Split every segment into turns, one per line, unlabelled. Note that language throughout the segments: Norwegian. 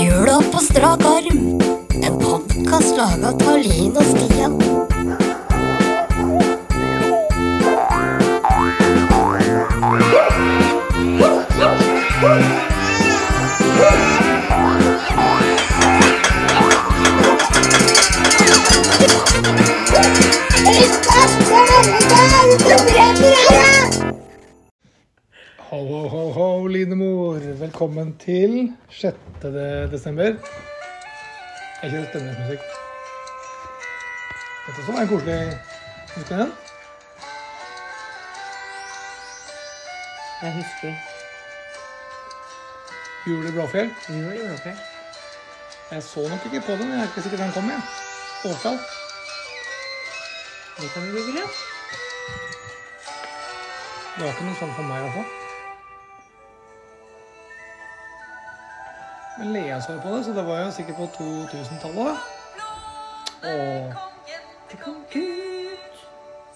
Jula på strak arm. En podkast laga av Linn og Stian.
Ho, ho, ho, Linemor. Velkommen til 6. de- desember. Jeg kjører stemningsmusikk. Dette sånn er en koselig musikk igjen.
Jeg husker
Jul i Blåfjell.
jul i Blåfjell.
Jeg så nok ikke på den. Jeg er ikke sikker den kom igjen. Årstall.
Det kan vi google.
Det var ikke noe sånn for meg, i hvert fall. Men Lea så jo på det, så det var jo sikkert på 2000-tallet. da. Og
Det kom ut.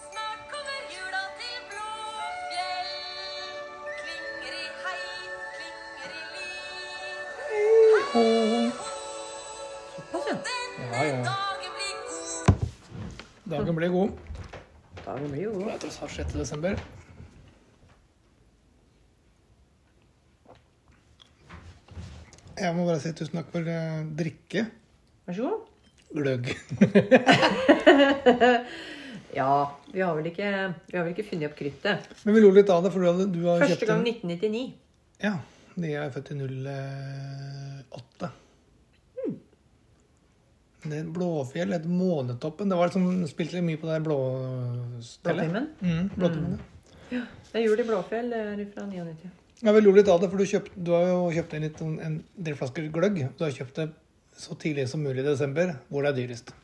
Snart kommer jula til Blåfjell. Klinger i hei, klinger i liv.
ho.
Såpass, ja.
Ja, ja. Dagen
Dagen blir god.
ble god.
Dagen blir jo god.
Det er tross alt 6. desember. Jeg må bare si tusen takk for eh, drikke.
Vær så god.
Gløgg.
Ja, vi har vel ikke, vi har vel ikke funnet opp kruttet.
Men vi lo litt av det, for du, hadde, du har
Første
kjøpt
gang
en
1999.
Ja. De er født i eh, 08. Det er et Blåfjell, et Månetoppen Det var liksom, spilte litt mye på det der blåstellet.
Blåtimen.
Mm, blåtimen, ja.
Det er jul i Blåfjell eh, fra 99.
Ja, vi lo litt av det, for du, kjøpt, du har jo kjøpt inn litt, sånn- en del flasker gløgg. Du har kjøpt det så tidlig som mulig i desember, hvor det er dyrest.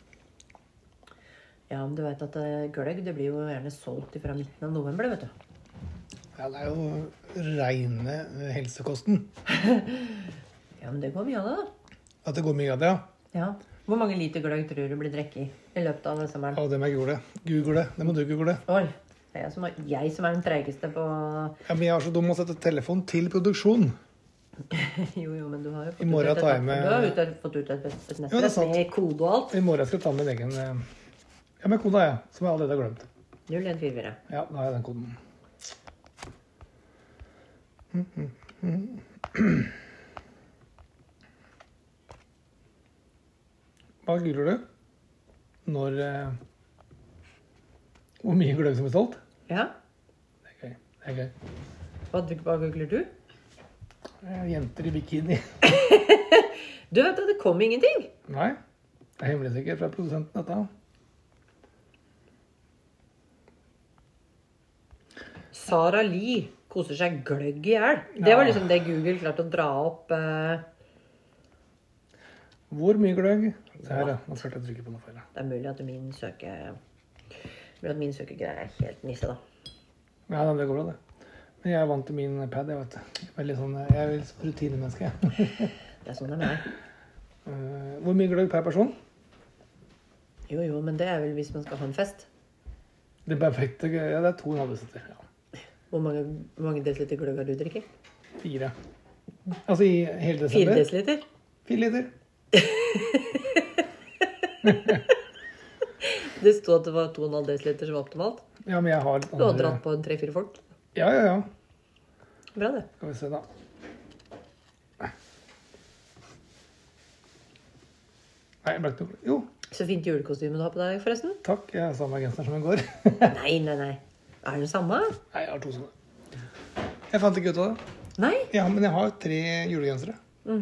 Ja, men du veit at eh, gløgg det blir jo gjerne solgt fra midten av november, vet du.
Ja, det er jo reine helsekosten.
Ja, men det går mye av det, da.
At det går mye av det, ja.
Ja. Hvor mange liter gløgg tror du blir drukket i i løpet av sommeren?
Å, det må jeg google. Google det. Det må du google.
Oi. Det er jeg som er, jeg som er den treigeste på
Ja, men jeg er så dum å sette telefon til produksjon.
Jo, jo, men du har jo fått
I morgen
ut et,
tar jeg med-
Du har ut, fått ut et, et
Jo, det er
nettrett
sant.
med kode og alt.
I morgen skal jeg ta med en egen eh, Ja, med koda, ja. Som jeg allerede har glemt.
0144.
Ja, da har jeg den koden. Hva googler du? Når eh, Hvor mye gløgg som blir solgt?
Ja.
Det er gøy. Det er gøy.
Hva, hva googler du?
Eh, Jenter i bikini.
Du vet at det kom ingenting!
Nei. Det er hemmelig sikkert fra produsenten, dette.
Sara Lee koser seg gløgg i hjel. Det var liksom det Google klarte å dra opp. eh,
Hvor mye gløgg? Se her, ja. Nå klarte jeg å trykke på noe feil. ja.
Det er mulig at min søke mulig at min søkegreie er helt nisse, da.
Ja, det går bra, det. Men jeg er vant til min pad, jeg, vet du. Veldig sånn, jeg er litt sånn rutinemenneske. jeg.
Det er sånn det er med deg.
Eh, Hvor mye gløgg per person?
Jo, jo, men det er vel hvis man skal ha en fest.
Det perfekte gløgg- ja, det er 2,5 desiliter. Ja.
Hvor mange, hvor mange desiliter gløgg har du drukket?
Fire. Altså i hele
Fire
desember?
desiliter?
Fire liter.
Det sto at det var 2,5 desiliter som var optimalt.
Ja, men jeg har litt
Du har
andre
dratt på en tre-fire folk.
Ja, ja, ja.
Bra, det.
Skal vi se, da. Nei, det ble ikke noe Jo,
Så fint julekostyme du har på deg, forresten.
takk. Jeg har samme genser som i går.
Nei, nei, nei. Er det den samme?
Nei, jeg har to sånne. Jeg fant ikke ut av det.
Nei.
Ja, men jeg har tre julegensere.
Det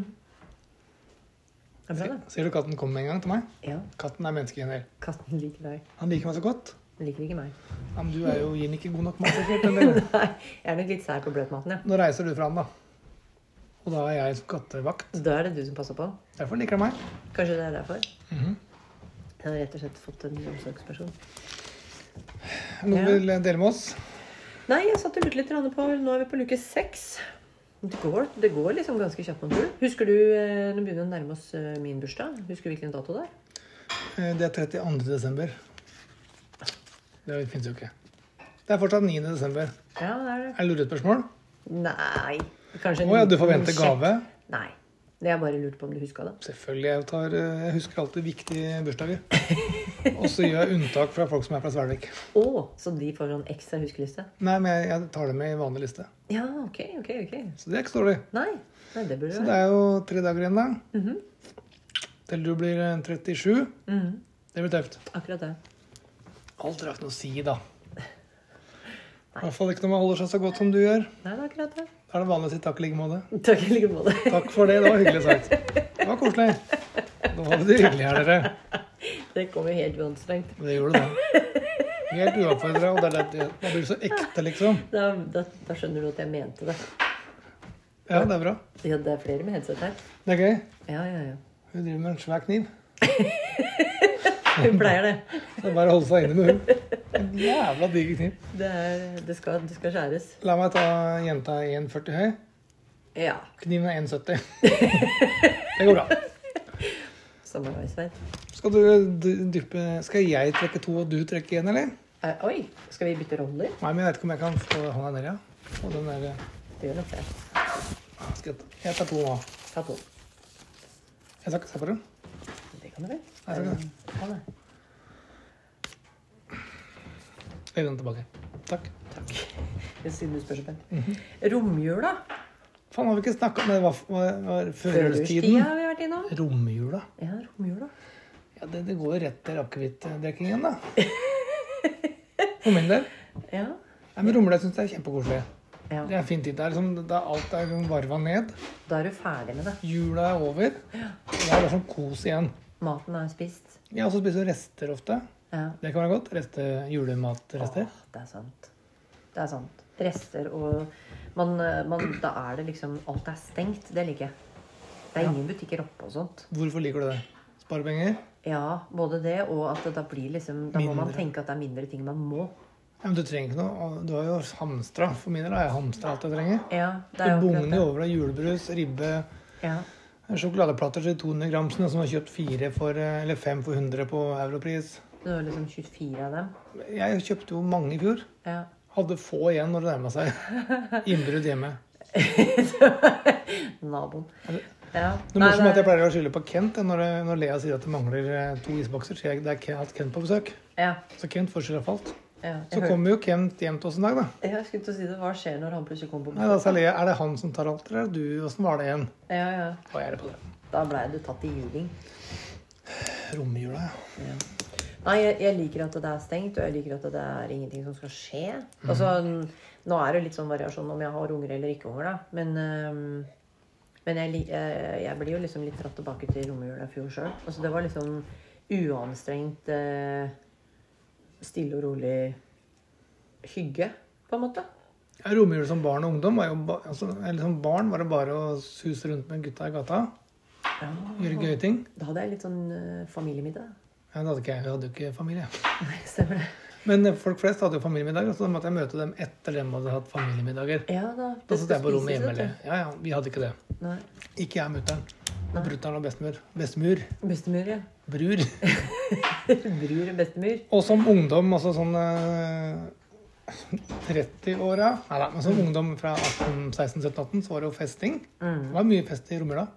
er bra, det.
Ser du katten kom med en gang til meg?
Ja.
Katten er menneskegener.
Katten liker deg.
Han liker meg så godt.
Den liker ikke meg.
Ja, men du er jo gir den ikke god nok mat, sikkert. Eller?
Nei, jeg er nok litt sær på bløtmaten, ja.
Nå reiser du fra han, da. Og da er jeg som kattevakt.
Så da er det du som passer på.
Derfor liker han meg.
Kanskje det er derfor.
Mhm.
Jeg har rett og slett fått en omsorgsperson.
Noen
Ja.
vil dele med oss?
Nei, jeg satt og lurte litt grann på Nå er vi på luke seks. Det går, det går liksom ganske kjapt mot jul. Husker du eh, Nå begynner vi å nærme oss eh, min bursdag. Husker du hvilken dato det er?
Eh, Det er 32. desember. Det fins jo ikke. Det er fortsatt 9. desember.
Ja, det er
Er
det.
det lurespørsmål?
Nei. Kanskje en
Å ja, du
liten
forventer
sjekk.
gave?
Nei. Jeg bare lurte på om du huska det.
Selvfølgelig. Jeg, tar, eh, jeg husker alltid viktige bursdager. Og så gjør jeg unntak fra folk som er fra Svelvik.
Å, så de får sånn ekstra huskeliste?
Nei, men jeg, jeg tar det med i vanlig liste.
Ja, ok, ok. ok.
Så det er ikke så dårlig.
Nei, nei det burde
Så
du
det
være.
er jo tre dager igjen, da. Til du blir eh, 37. Det blir tøft.
Akkurat det.
Alt har ikke noe å si, da. I hvert fall ikke når man holder seg så godt som du gjør.
Nei, det er akkurat det.
Da er det vanlig å si takk i like måte.
Takk i like måte.
Takk for det. Det var hyggelig sagt. Det var koselig. Da hadde det hyggelig her, dere.
Det kom jo helt uanstrengt.
Det gjorde det. Helt uoppfordra. Og det er det det blir så ekte, liksom.
Da, da, da skjønner du at jeg mente det.
Ja, det er bra.
Ja, det er flere med headset her.
Det er gøy.
Ja, ja, ja.
Hun driver med en svær kniv.
Hun pleier det.
Det er bare å holde seg inne med hun. En jævla diger kniv.
Det, er, det, skal, det skal skjæres.
La meg ta jenta 1,40 høy.
Ja.
Kniven er 1,70. Det går bra.
Samarbeidsvei.
Skal, du, dy- dyppe, skal jeg trekke to, og du trekke én, eller?
Eh, Oi, skal vi bytte roller?
Nei, men jeg vet ikke om jeg kan få hånda nedi. Ja. Og den der
Det gjør nok det.
skal jeg ta- Jeg tar to nå.
Ta to.
Jeg skal ikke se på den.
Det kan du vel? Eh,
Nei, det kan
Ta det.
Legg den tilbake. Takk.
Takk. Siden du spør så pent. Romjula.
Faen, har vi ikke snakka om det? Var, var, var
Førjulstida
førjulstiden?
har vi vært innom.
Romjula?
Ja, romjula.
Ja, det, det går jo rett til akevittdrikkingen, da. For min del.
Ja.
Nei, men Romjula syns jeg er kjempekoselig. Det
ja.
er en fin tid. Det er liksom, det er alt er liksom varva ned.
Da er du ferdig med det.
Jula er over. Og da er det sånn kos igjen.
Maten er spist.
Jeg også spiser rester ofte.
Ja.
Det kan være godt. Reste, julematrester.
Åh, det er sant. Det er sant. Rester og man, eh, man, Da er det liksom Alt er stengt. Det liker jeg. Det er ingen butikker oppe og sånt.
Hvorfor liker du det? Sparepenger?
Ja, både det og at det da blir liksom Da må man
Mindre.
tenke at det er mindre ting man må.
Ja, men du trenger ikke noe. og Du har jo hamstra. For min del har jeg hamstra alt jeg trenger.
Ja, det
Det
er jo akkurat
bugner jo
det.
over av julebrus, ribbe eh,
Ja.
Sjokoladeplater til 200 gram sånn som har kjøpt fire for, eh, eller fem for 100 på europris.
Du har liksom 24 av dem.
Jeg kjøpte jo mange i fjor.
Ja.
Hadde få igjen når det nærma seg innbrudd hjemme.
Naboen. Ja.
Det
Nei,
morsomme er at jeg
det-
pleier å skylde på Kent jeg, når, eh, når Lea sier at det mangler eh, to isbokser. Så jeg det er Ken- hatt Kent på besøk.
Ja.
Så Kent får skylda for alt.
ja. Jeg,
Så
hørte-
kommer jo Kent hjem til oss en dag, da.
jeg skulle til å si det. Hva skjer når han plutselig kommer på
Nei, da sa Lea er det han som tar alt, eller er det du? Åssen var det igjen?
Ja, ja.
Og jeg er det på det.
Da blei du tatt i juling.
Romjula, ja.
Nei, jeg, jeg liker at det er stengt, og jeg liker at det er ingenting som skal skje.
Mhm.
Altså, n- nå er det litt sånn variasjon om jeg har unger eller ikke unger, da. Men, øhm, men jeg, li- eh, jeg blir jo liksom litt dratt tilbake til romjula i fjor sjøl. Altså, det var liksom uanstrengt, eh, stille og rolig hygge, på en måte.
ja Romjul som barn og ungdom var jo ba altså, Eller som barn var det bare å suse rundt med gutta i gata.
Mhm.
Gjøre gøye ting.
Da hadde jeg litt sånn eh, familiemiddag.
Ja, det hadde ikke jeg. Jeg hadde jo ikke familie.
Nei, Stemmer det?
Men eh, folk flest hadde jo familiemiddag, og så måtte jeg møte dem etter dem hadde hatt familiemiddager.
Ja
Da
da. det
satt jeg på
skal
rommet hjemme.
spises,
Eller.
vet
Ja, ja, vi hadde ikke det.
du. Nei.
Ikke jeg, mutter'n. Og brutter'n og bestemor. Bestemor.
Bestemor, ja.
Brur.
Bror og bestemor.
Og som ungdom, altså sånn eh, 30-åra Nei da, men som ungdom fra 18, 16, 17, 18, så var det jo festing.
Mm.
Det var mye fest i romjula.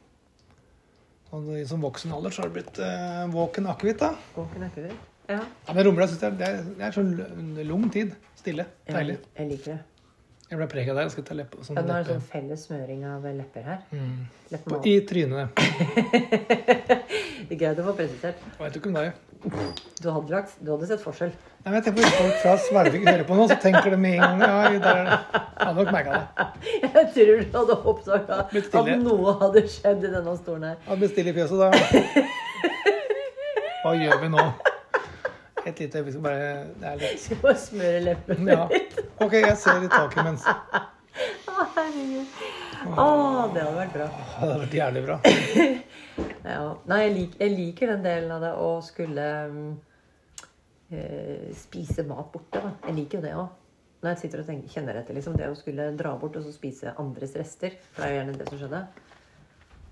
Eh, og i- som voksen alder så har det blitt eh, våken akevitt, da.
Kåken er ikke det. Ja.
Ja, men romjula syns jeg det er, det er sånn l- lung tid. Stille.
Jeg
Deilig.
lik- Jeg liker det.
Jeg ble prega der. Jeg skal ta leppe, sånn
Ja, nå er sånn det
leppe.
sånn felles smøring av lepper her.
Mm. På-
Leppene
I trynet.
Det er greit å få presisert.
Jeg vet jo ikke om deg.
Du hadde, lagt, du hadde sett forskjell.
Nei, men jeg tenker på folk fra Svelvik hører på nå, så tenker de med en gang Ja, der er det. Jeg hadde nok merka det.
Jeg tror du hadde oppdaga
Blitt
at
stille.
noe hadde skjedd i denne stolen her.
Ja, bestill i fjøset, da. Hva gjør vi nå? Et lite Vi skal bare Det er litt
Skal bare smøre leppene.
Ja. OK, jeg ser i taket imens. Ja,
Å, herregud. Å, det hadde vært bra.
Det hadde vært jævlig bra.
Ja. Nei, jeg, lik, jeg liker den delen av det å skulle mm, eh, spise mat borte. Da. Jeg liker jo det òg. Når jeg sitter og tenker, kjenner etter liksom, det å skulle dra bort og så spise andres rester. For det er jo gjerne det som skjedde.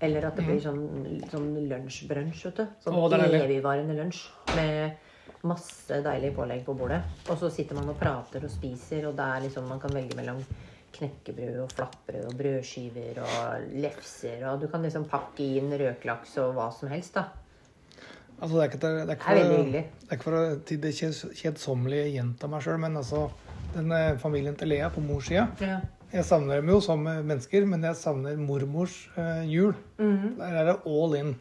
Eller at det blir sånn, sånn lunsjbrunsj, vet du. Sånn
Mhm. Å, det er deilig.
evigvarende lunsj. Med masse deilig pålegg på bordet. Og så sitter man og prater og spiser, og det er liksom man kan velge mellom knekkebrød og flatbrød og brødskiver og lefser og Du kan liksom pakke inn røkelaks og hva som helst, da.
Altså, det er ikke, det er ikke
Det er
for,
veldig
å-
hyggelig.
Det er ikke for å til det kjeds- kjedsommelige gjenta meg sjøl, men altså den eh, familien til Lea på mors side Jeg savner dem jo som eh, mennesker, men jeg savner mormors eh, jul. Der er det all in.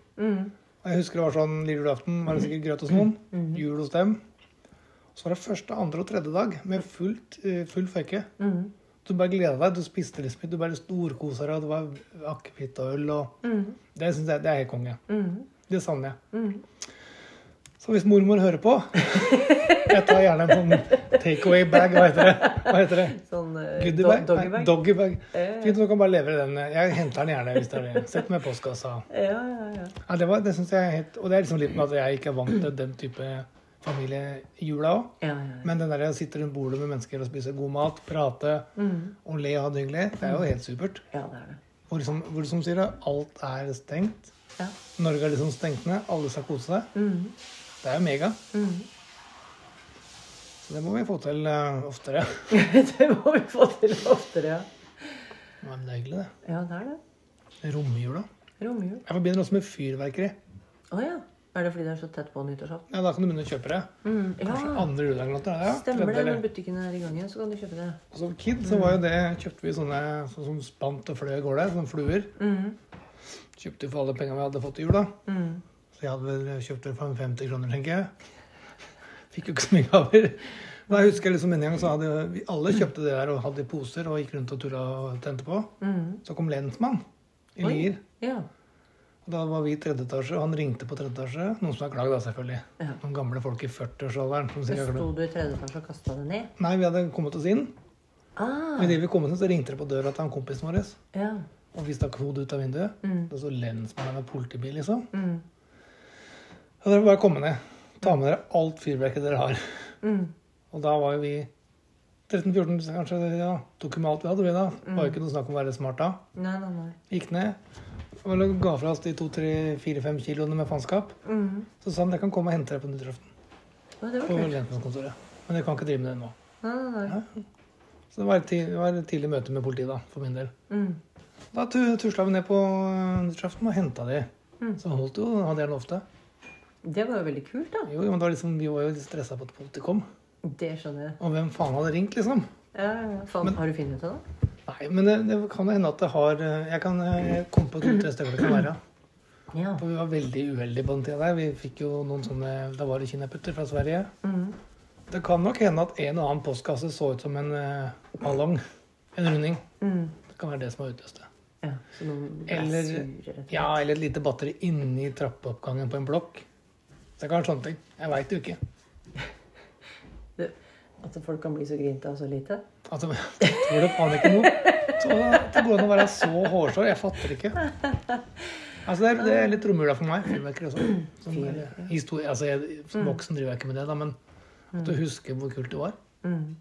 Og Jeg husker det var sånn lille julaften, var det sikkert grøt hos noen. Jul hos dem. Så var det første, andre og tredje dag med fullt, eh, full føyke. Du bare gleda deg, du spiste liksom ikke, du bare storkosa deg, og det var akevitt og øl og Det syns jeg det er helt konge. Det savner jeg. Så hvis mormor hører på Jeg tar gjerne en sånn takeaway-bag. Hva heter det? Hva heter det?
Sånn eh, do-
Goodiebag? Nei,
doggybag.
Doggybag.
Eh.
Fint, du kan bare levere den. Jeg henter den gjerne hvis det er det. Sett meg i postkassa.
Ja, ja, ja.
Ja, det, var, det synes jeg er helt, Og det er liksom litt med at jeg ikke er vant til den type familie i jula òg.
ja, ja, ja.
Men den der å sitte rundt bordet med mennesker og spise god mat, prate og le og ha det hyggelig, det er jo helt supert.
ja det er det.
Hvor, som, hvor som sier det, alt er stengt.
Ja.
Norge er liksom stengt ned. Alle skal kose seg.
Mm.
Det er jo mega. Så det må vi få til eh, oftere.
det må vi få til oftere, ja.
Ja, men det er hyggelig, det.
Ja, det er det.
Romjula.
Romjul.
Jeg forbinder også med fyrverkeri.
Å ja. Er det fordi det er så tett på nyttårsaften?
Ja, Da kan du begynne å kjøpe det.
Mm,
Kanskje
ja.
andre juledag eller noe. Ja,
Stemmer det.
tredje
Når
eller-
butikken er i gang igjen, så kan du kjøpe det.
Og Som kid så var jo det, kjøpte vi sånne sånn som spant og fløy går der, sånne fluer.
Mm,
Kjøpte jo for alle pengene vi hadde fått i jul, da. Så jeg hadde vel kjøpt det for en 50 kroner, tenker jeg. Fikk jo ikke så mye gaver. Men jeg husker liksom en gang så hadde vi alle kjøpte det der og hadde i poser og gikk rundt og tulla og tente på. Så kom lensmann i
Oi.
Lier.
mm. Ja.
Og Da var vi i tredje etasje, og han ringte på tredje etasje. Noen som har klagd, da, selvfølgelig.
Ja.
Noen gamle folk i 40-årsalderen. som sikkert
Så
har
sto
klagd.
du i tredje etasje og kasta det ned?
Nei, vi hadde kommet oss inn.
Ah,
Og idet vi kom inn, så ringte det på døra til han kompisen vår.
ja.
Og vi stakk hodet ut av vinduet. Det så lensmannen med politibil, liksom. Og dere bare komme ned. Ta med dere alt fyrverkeriet dere har. Og da var jo vi 13-14, så kanskje. ja, Tok jo med alt vi hadde, vi da. Det var jo ikke noe snakk om å være smart da.
Nei, nei, nei.
Gikk ned. Og ga fra oss de to-tre-fire-fem kiloene med faenskap. Så sa han dere kan komme og hente dere på nyttårsaften.
Mm. Å, det var
På
kult.
lensmannskontoret. Men dere kan ikke drive med det nå.
Nei, nei, nei.
Så det var et, ti- det var et tidlig møte med politiet, da, for min del.
Mm.
Da tu, tusla vi ned på eh, nyttårsaften og henta de. Så holdt jo, hadde jeg den ofte.
Det var jo veldig kult, da.
Jo, jo, men det var liksom, Vi var jo litt stressa på at politiet kom.
Det skjønner jeg.
Og hvem faen hadde ringt, liksom?
Ja, ja, ja. Faen, har du funnet ut av det?
Nei, men det, det kan jo hende at det har eh, Jeg kan eh, komme på to-tre stykker det kan være.
Ja.
For vi var veldig uheldige på den tida der. Vi fikk jo noen sånne Da var det kinaputter fra Sverige. Det kan nok hende at en og annen postkasse så ut som en eh, ballong. En runding. Det kan være det som har utløst det.
ja. Så noen ble
Eller-
sure, rett og slett.
Ja, eller et lite batteri inni trappeoppgangen på en blokk. Så det kan være sånne ting. Jeg veit jo ikke.
Du, At folk kan bli så grinte av så lite?
Altså, jeg tror det faen ikke noe. Så at det går an å være så hårsår. Jeg fatter ikke. Altså, det er, det er litt romjula for meg. Fyrverkeri også. Sånn, der, historie, altså, jeg,
Mm.
som voksen driver jeg ikke med det, da, men at du husker hvor kult det var.
Mm.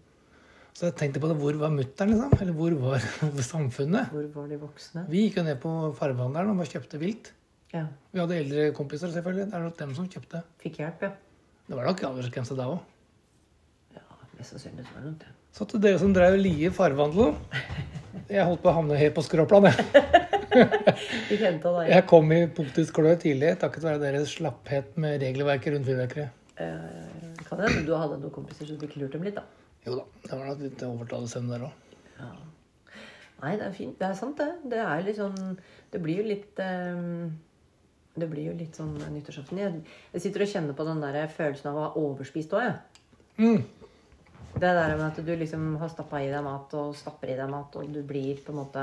Så jeg tenkte på det. Hvor var mutter'n, liksom? Eller hvor var samfunnet?
Hvor var de voksne?
Vi gikk jo ned på fargehandelen og bare kjøpte vilt.
Ja.
Vi hadde eldre kompiser, selvfølgelig. Det er nok dem som kjøpte.
Fikk hjelp, ja.
Det var nok aldersgrense da òg.
Mest sannsynlig så var det nok det.
Så til dere som drev Lie farvandel Jeg holdt på å havne helt på skråplan. Jeg,
Fikk henta deg.
jeg kom i punktisk klø tidlig takket være deres slapphet med regelverket rundt fyrverkeri.
Det kan hende eh, du hadde noen kompiser som fikk lurt dem litt, da.
Jo da, det var nok litt overtalelsesevne der òg.
Nei, det er fint. Det er sant, det. Det er litt sånn Det blir jo litt eh, Det blir jo litt sånn nyttårsaften. Jeg, jeg sitter og kjenner på den der følelsen av å ha overspist òg, jeg.
Mm.
Det der med at du liksom har stappa i deg mat og stapper i deg mat, og du blir på en måte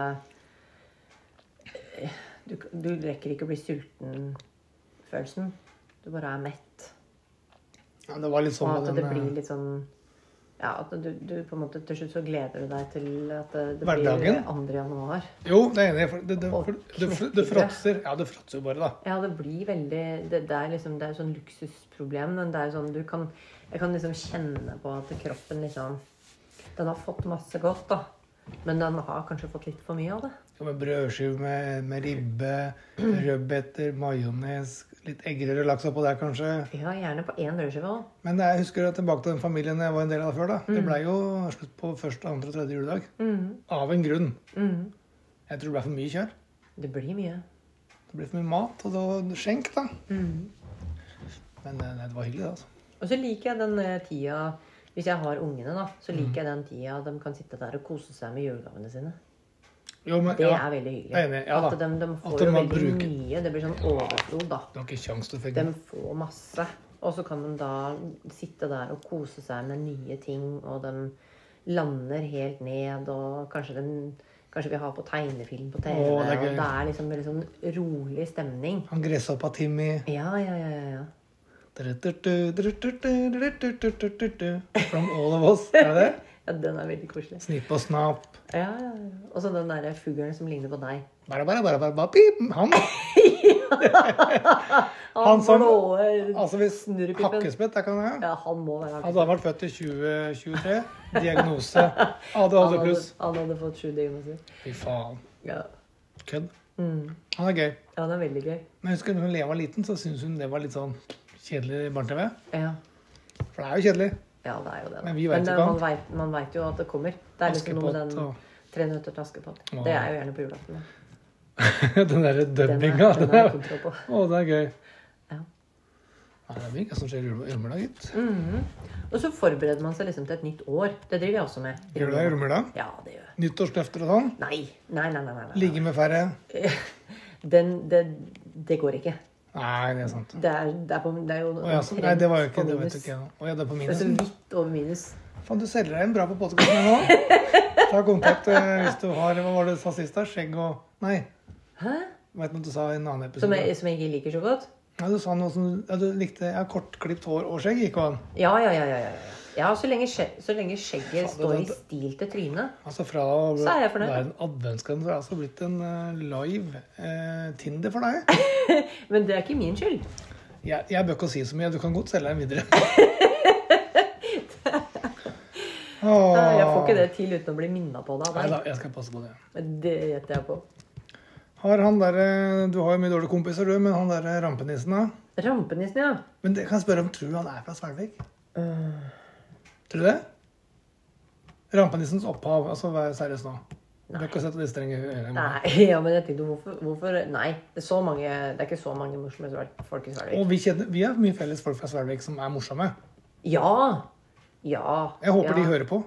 eh, Du, du rekker ikke å bli sulten-følelsen. Du bare er mett.
Ja, det var litt sånn
Og
med
at det blir
den eh,
litt sånn Ja, at du, du på en måte til slutt så gleder du deg til at det, det blir
Hverdagen?
2. januar.
Jo, det er enig. for Det, det, for det, det, det fråtser. Ja, det fråtser jo bare, da.
Ja, det blir veldig Det, det er liksom Det er jo sånn luksusproblem. Men det er jo sånn du kan Jeg kan liksom kjenne på at kroppen liksom Den har fått masse godt, da. Men den har kanskje fått litt for mye av det.
Jo, Med brødskive med, med ribbe, rødbeter, majones, litt eggerøre laks oppå der, kanskje.
Ja, gjerne på én brødskive òg.
Men jeg husker jeg tilbake til den familien jeg var en del av før. da. Det
Mm.
blei jo slutt på første, andre og tredje juledag.
Mm-hmm.
Av en grunn. Jeg tror det blei for mye kjør.
Det blir mye.
Det ble for mye mat og da- skjenk, da. Men eh, nei, det var hyggelig, det. altså.
Og så liker jeg den eh, tida Hvis jeg har ungene, da, så liker jeg den tida de kan sitte der og kose seg med julegavene sine.
Jo, men,
Det
ja,
er veldig hyggelig.
Jeg er enig, ja da.
At de, de
At
får
de
jo
må
veldig
bruke-
mye. Det blir sånn overflod, da.
Det var ikke kjangs til å
De
fikk
får masse. Og så kan de da sitte der og kose seg med nye ting, og de lander helt ned, og kanskje, den- kanskje vi har på tegnefilm på TV.
Å, det er
og
gøy.
det er liksom en liksom rolig stemning.
Han gresshoppa Timmy
Ja, ja, ja. ja, ja.
Drututu, drututu, drutututututu. From all of us. Er det det?
ja den er veldig koselig.
Snipp og snap.
Ja, ja, ja. Og så den derre fuglen som ligner på deg.
Bare, bare, bare, bare, bare, pip. Han. Han som-
blå
Altså, hvis
Snurrepipen.
hakkespett, det kan jeg.
Ja, han må være
Hadde han vært født i 2023, diagnose ADHD
han,
pluss.
hadde- han hadde fått sju diagnoser.
Fy faen.
Ja.
Kødd. Han er gøy.
Mm. ja, det er veldig gøy.
Men jeg husker når Lea var liten, så syntes hun det var litt sånn kjedelig barne-TV.
Ja,
For det er jo kjedelig.
ja det er jo det. da.
Men vi vet
Men,
ikke
eh,
han.
man, vet, man vet jo at det kommer. Det er liksom noe med
Askepott
den
og-
Tre nøtter til Askepott.
Åh.
Det er jo gjerne på julaften. da.
den derre
Den er,
dubbinga.
den
Den
er
er-
jeg kontroll på.
Å, det er gøy.
Ja. Mm.
Nei, det er mye som skjer i jule- julemiddag, gitt.
Og så forbereder man seg liksom til et nytt år. Det driver jeg også med.
Jula i julemiddag.
Ja, det gjør jeg.
Nyttårsløfter og sånn.
Nei. Nei, nei, nei. nei, nei.
Ligge med færre.
Den, det, det går ikke.
Nei, det er sant.
Det er, det er, på, det er jo
Å, ja, så, nei, det var jo ikke det. vet du ikke. ja. Å ja, det er på
Det er så
minusen.
vidt over minus.
Faen, du selger deg inn bra på podkasten nå. Ta kontakt eh, hvis du har Hva var det du sa sist? da? Skjegg og Nei.
Hæ?
Vet du hva du sa i en annen episode?
Som jeg, som jeg ikke liker så godt?
Ja, du sa noe som ja, du likte ja, kortklipt hår og skjegg. Ikke an.
Ja, ja, ja. ja, ja, ja. ja så, lenge skje, så lenge skjegget står i
det-
stil til trynet.
Altså fra å
Så er jeg fornøyd.
være en adventskalender, så er det altså blitt en eh, live eh, Tinder for deg.
Men det er ikke min skyld.
Jeg, jeg bør ikke si så mye. Du kan godt selge deg videre. Åh.
Nei, Jeg får ikke det til uten å bli minna på det. av
Nei
deg.
da, jeg skal passe på det.
Men Det gjetter jeg på.
Har han der, eh, Du har jo mye dårlige kompiser, du, men han derre rampenissen, da?
Rampenissen, ja.
Men det kan jeg spørre om, tror du han er fra Svelvik?
Øh.
Tror du det? Rampenissens opphav. altså Vær seriøs nå. Du bør ikke sette de strenge øynene.
Nei, ja, men jeg tenkte hvorfor, hvorfor Nei, det er, så mange, det er ikke så mange morsomme svel- folk i Svelvik.
Og vi, kjenner, vi har mye felles folk fra Svelvik som er morsomme.
Ja! Ja.
Jeg håper
ja.
de hører på.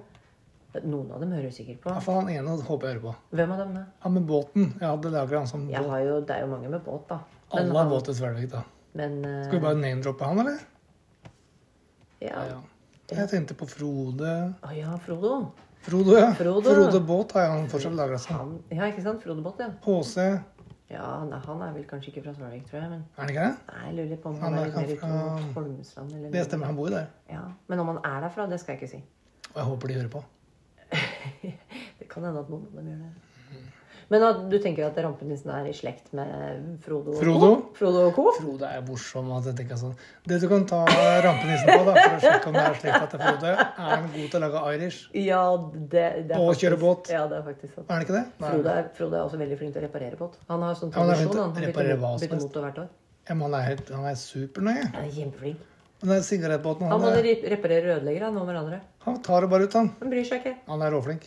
Noen av dem hører sikkert på.
Iallfall han ene håper jeg hører på.
Hvem av dem, da?
Han med båten. Jeg hadde lagra han som
Jeg
båt.
har jo, det er jo mange med båt, da.
Alle har båt i Svelvik, da.
Men eh,
Skal vi bare name-droppe han, eller?
ja.
Ja. Jeg tenkte på Frode
Å ja, Frodo.
Frodo, ja.
Frode.
Frode Båt har han fortsatt lagra seg.
Han, ja, ikke sant? Frode Båt, ja.
HC Er
Ja, han er, han er vel kanskje ikke fra Svelvik, tror jeg. Men
han ikke det?
nei, jeg lurer litt på om
Han er
han er litt
kanskje
mer ute mot Holmestrand. Eller
Det stemmer, han bor jo der.
Ja. Men om han er derfra, det skal jeg ikke si.
Og jeg håper de hører på.
Det kan hende at noen av dem gjør det. Men at du tenker at rampenissen er i slekt med Frodo og
Frodo?
Co? Frodo og Co?
Frode er morsom. at jeg tenker sånn. Det du kan ta rampenissen på da, for å sjekke om det er slekta til Frode, er han god til å lage irish?
Ja, det, det er
Og
faktisk-
kjøre båt.
Ja, det er faktisk sant.
Er han ikke det? Nei.
Frode er, Frode er også veldig flink til å reparere båt. Han har sånn
Ja, han er flink
tradisjon.
til å
Han, han
reparere
bytter,
hva
mot-
som
bytter
helst.
motor hvert år.
Ja, men han er, helt- han er supernøye.
Han er kjempeflink.
Den der sigarettbåten
Han
han,
både
er-
rep- reparerer rødleggere og hverandre.
han tar det bare ut, han.
Han bryr seg ikke. Mm.
Han er råflink.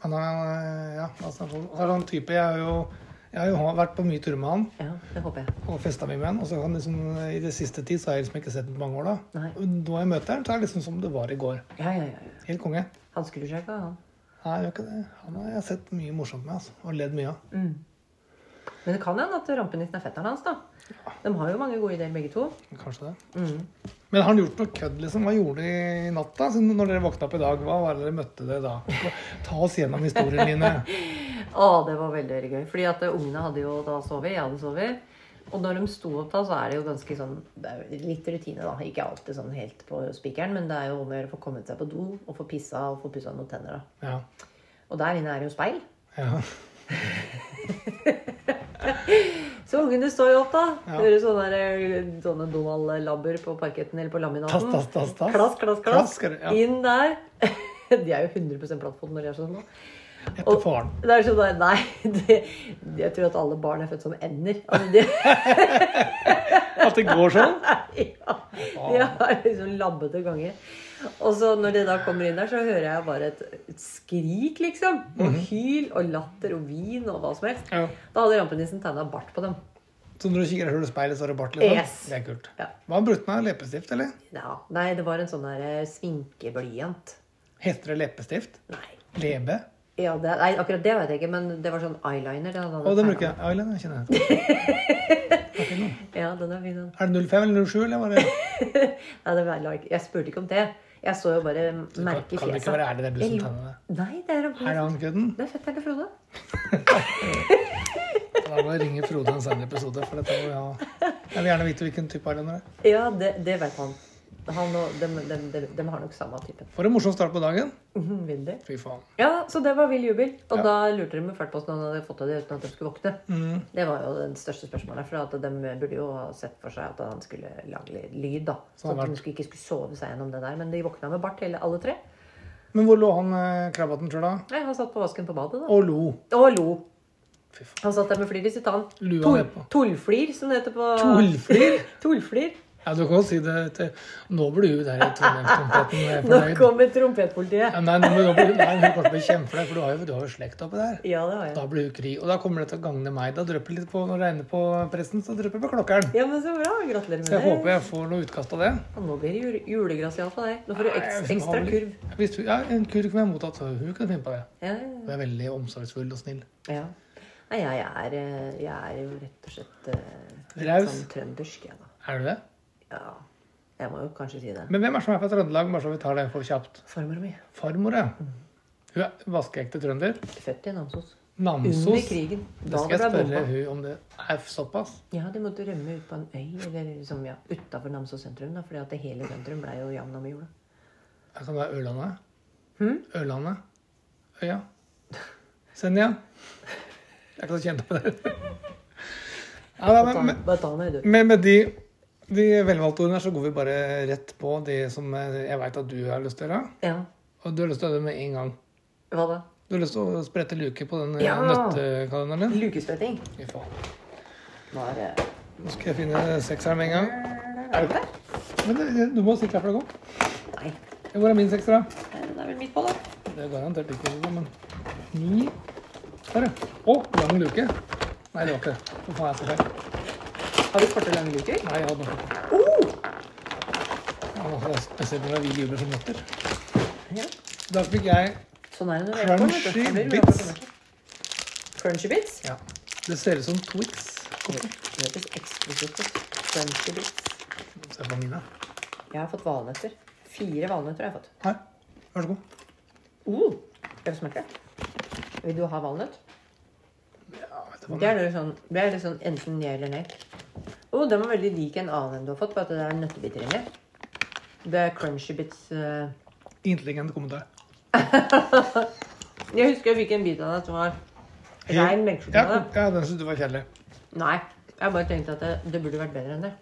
Han er, ja, altså, han er sånn type, jeg har jo, jeg har jo vært på mye tur med han,
Ja, det håper jeg.
og festet mye med han, og så har han liksom, i det siste tid så har jeg liksom ikke sett ham på mange år da.
Nei.
Og Nå jeg møter han, så er det liksom som det var i går.
Ja, ja, ja. ja.
Helt konge.
Han skrur seg ikke, han.
Nei, jeg gjør ikke det. Han har jeg sett mye morsomt med, altså, og ledd mye av.
Mm. Men det kan hende at rampenissen er fetteren hans, da. De har jo mange gode ideer, begge to. Mm.
Kanskje det. Men har han gjort noe kødd, liksom? Hva gjorde de i natt, da? Siden når dere våkna opp i dag, hva var det dere møtte det da? Ta oss gjennom historien dine.
Å, det var veldig, veldig gøy. Fordi at eh, ungene hadde jo da sovet, jeg hadde sovet. Og når de sto opp da, så er det jo ganske sånn det er jo Litt rutine, da. Ikke alltid sånn helt på spikeren, men det er jo om å gjøre å få kommet seg på do og få pissa og få pussa noen tenner, da.
Ja.
Og der inne er det jo speil.
ja.
Så ungene står jo opp, da.
Ja.
Hører sånne, der, eh, sånne Donald-labber på parketten eller på laminaten.
Tass, tass, tass, tass.
Klask, klask, klask.
Klask, er det, ja.
Inn der. De er jo 100 plattfot når de er sånn nå.
etter faren.
Det er sånn der, Nei, det, jeg tror at alle barn er født som ender. Altså, de,
At det går sånn.
ja, de har liksom labbete ganger. Og så når de da kommer inn der, så hører jeg bare et, et skrik, liksom. Og hyl og latter og vin og hva som helst.
Mhm. Ja.
Da hadde rampenissen tegna bart på dem.
Så når du kikker i hullet i speilet, så er det bart, liksom?
Yes.
Det er kult.
Ja.
Hva brukte han av leppestift, eller?
Ja, Nei, det var en sånn der eh, sminkeblyant.
Heter det leppestift?
Nei.
Lebe?
Ja, det, nei, akkurat det vet jeg ikke, men det var sånn eyeliner. Den
Å,
hadde
den
tegnet.
bruker jeg. Island, jeg kjenner jeg.
Ja, den er fin, den.
Er det 05 eller 07, eller var det
Nei, det var like. Jeg spurte ikke om det. Jeg så jo bare merket i
kan det ikke være ærlig, det er du som
Jeg-
tegner det.
Nei, det er,
Er det han kødden?
det er fetteren til Frode.
Da må jeg ringe Frode i en senere episode, for dette må jeg ha. Jeg vil gjerne vite hvilken type Island det er.
Ja, det, det vet han. han og, dem, dem, dem, dem har nok samme typen.
For en morsom start på dagen.
Mhm, Veldig.
Fy faen.
Ja, så det var vill jubel.
Ja.
Og
Mhm.
da lurte de med fart på hvordan han hadde fått av det uten at de skulle våkne. Det var jo det største spørsmålet, for at de burde jo ha sett for seg at han skulle lage litt lyd. da.
Så han
Sånn at
vært-
de skulle, ikke skulle sove seg gjennom det der. Men de våkna med bart, hele alle tre.
Men hvor lå han eh, krabbaten sjøl, da?
Nei, Han satt på vasken på badet, da.
Og lo.
Og lo.
Fy faen.
Han satt der med flir i sitt ann.
Lua
Tol-
nedpå.
Tollflir, som det heter på
Tollflir?
Tollflir.
Ja, du kan jo si det til Nå blir hun der i Trondheimskontakten eh,
Nå
fornøyd.
kommer trompetpolitiet.
Ja, nei, nå, men nå blir, nei, hun kommer til å bli kjempeflau, for du har jo, du har jo slekt oppi der.
Ja, det har jeg.
Da blir hun kry. Og da kommer det til å gagne meg. Da drypper det litt på når det regner på presten, så drypper det på klokkeren.
Ja, men så bra. Gratulerer med
Så jeg
det.
håper jeg får noe utkast av det.
Ja, nå blir det jule, julegrasial på deg. Nå får du
Nei,
ekstra,
jeg har
ekstra
vel-
kurv.
Hvis du, ja, en kurv kunne jeg mottatt. så Hun kunne finne på det.
Ja,
Hun er veldig omsorgsfull og snill.
ja. Nei, jeg er, eh, jeg er jo rett og slett eh, litt
Raus.
sånn trøndersk, jeg, da.
Er du det?
Ja. Jeg må jo kanskje si det.
Men hvem er som er fra Trøndelag, bare så vi tar det for kjapt?
Farmor mi.
Farmor, ja. Hun er vaskeekte trønder.
Født i Namsos. Under
Namsos.
krigen.
Da
Da
skal
det
jeg
ble
spørre
bomba.
hun om det er såpass.
Ja, de måtte rømme ut på en øy eller liksom, ja, utafor Namsos sentrum. da, fordi at det hele sentrum ble jo jamna med jorda.
Jeg kan være Ørlandet.
Hm?
Ørlandet. Øya. Senja. Jeg er ikke så kjent på det. Ja, da, men, men,
Bare ta den i døra.
men med de, de velvalgte ordene her, så går vi bare rett på det som eh, jeg veit at du har lyst til å gjøre.
Ja.
Og du har lyst til å gjøre det med en gang.
Hva da?
Du har lyst til å sprette luke på den eh,
Ja.
nøttekalenderen din.
Lukespretting.
Fy faen.
Nå er det
Nå skal jeg finne sekseren med en gang.
Er det der?
Men det- du må sitte her for det går.
Nei.
Hvor er min sekser, da?
Den er vel midt på, da.
Det er garantert ikke det, men Ni Der, ja. Å, lang luke. Nei, det var ikke det. Hva faen er det for feil?
Har du korte, lange luker?
Nei, jeg hadde noe.
Oh!
Ja, det er spesielt når det er vi jubler som nøtter.
Ja.
Da fikk jeg
Sånn er det når du er på, vet du.
Crunchy
Da blir du
bits.
glad for det. Crunchy bits?
Ja. Det ser ut som Twix. Kom igjen.
Det høres eksklusivt ut. Crunchy bits.
Se på mine.
Jeg har fått valnøtter. Fire valnøtter har jeg fått.
Her. Vær så god.
Uh, skal du smake? Vil du ha valnøtt?
Ja, vet du hva.
Det er litt sånn, det er litt sånn enten ja eller nei. Å, den var veldig lik en annen enn du har fått, bare at det er nøttebiter inni. Det er crunchy bits eh.
Intelligent kommentar.
Jeg husker jeg fikk en bit av det som var rein melkesjokolade.
Ja, ja, den synes du var kjedelig.
Nei, jeg bare tenkte at det, det burde vært bedre enn det.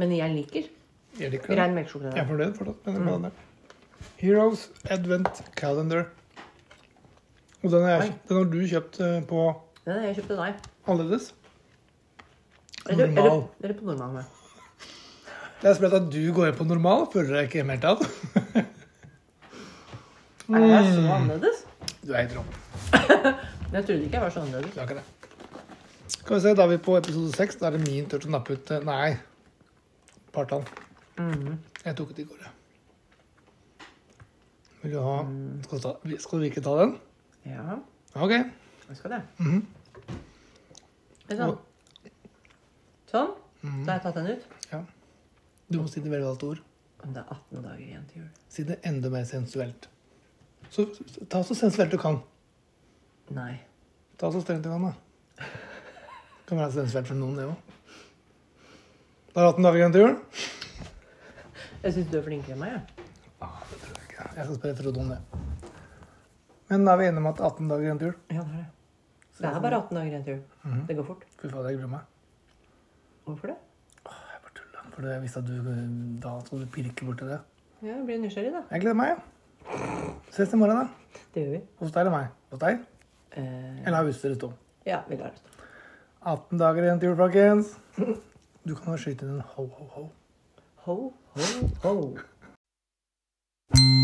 Men jeg liker
Jeg liker
rein
den. Jeg
melkesjokolade.
er fornøyd fortsatt med den kalenderen. Heroes Advent Calendar. Og den har, jeg, den har du kjøpt eh, på
Den har jeg kjøpt til deg.
annerledes.
Eller, eller,
Normal.
eller på normal. nei.
Det er sprøtt at du går inn på normal. Føler deg ikke hjemme i det hele tatt.
Er jeg så annerledes?
Du er helt rå.
Men Jeg trodde ikke jeg var så annerledes.
Du er ikke det. Skal vi se, da er vi på episode seks. Da er det min tur til å nappe ut eh, Nei. Partall.
Mm.
Jeg tok det i går, jeg. Vil du ha Skal du, ta, skal du ikke ta den?
Ja,
OK.
jeg skal det. Men Sånn. Sånn. Da har jeg tatt den ut.
Ja. Du må si det velvalgte ord.
Men det er 18 dager igjen til jul.
Si det enda mer sensuelt. Så, så- ta så sensuelt du kan.
Nei.
Ta så strengt du kan, da. Kan være sensuelt for noen, det òg. Da har du hatt en dag igjen til jul.
Jeg syns du er flinkere enn meg. jeg.
Jeg skal spørre Frode om det. Men da er vi enige om at 18 dager igjen til jul.
Ja, det er det. Det er sånn. Mm. bare 18 dager igjen til jul. Det går fort.
Fy fader, jeg gruer meg.
Hvorfor det?
Jeg bare tuller. For jeg visste at du eh, da skal du pirke borti det.
Ja, Jeg blir nysgjerrig, da.
Jeg gleder meg, jeg. Ses i morgen, da.
Det gjør vi.
Hos deg eller meg? Hos deg?
Eh,
Eller har utstyret stå.
ja, vi lar det stå.
18 dager igjen til jul, folkens. Du kan jo skyte inn en ho-ho-ho.
Ho, ho, ho.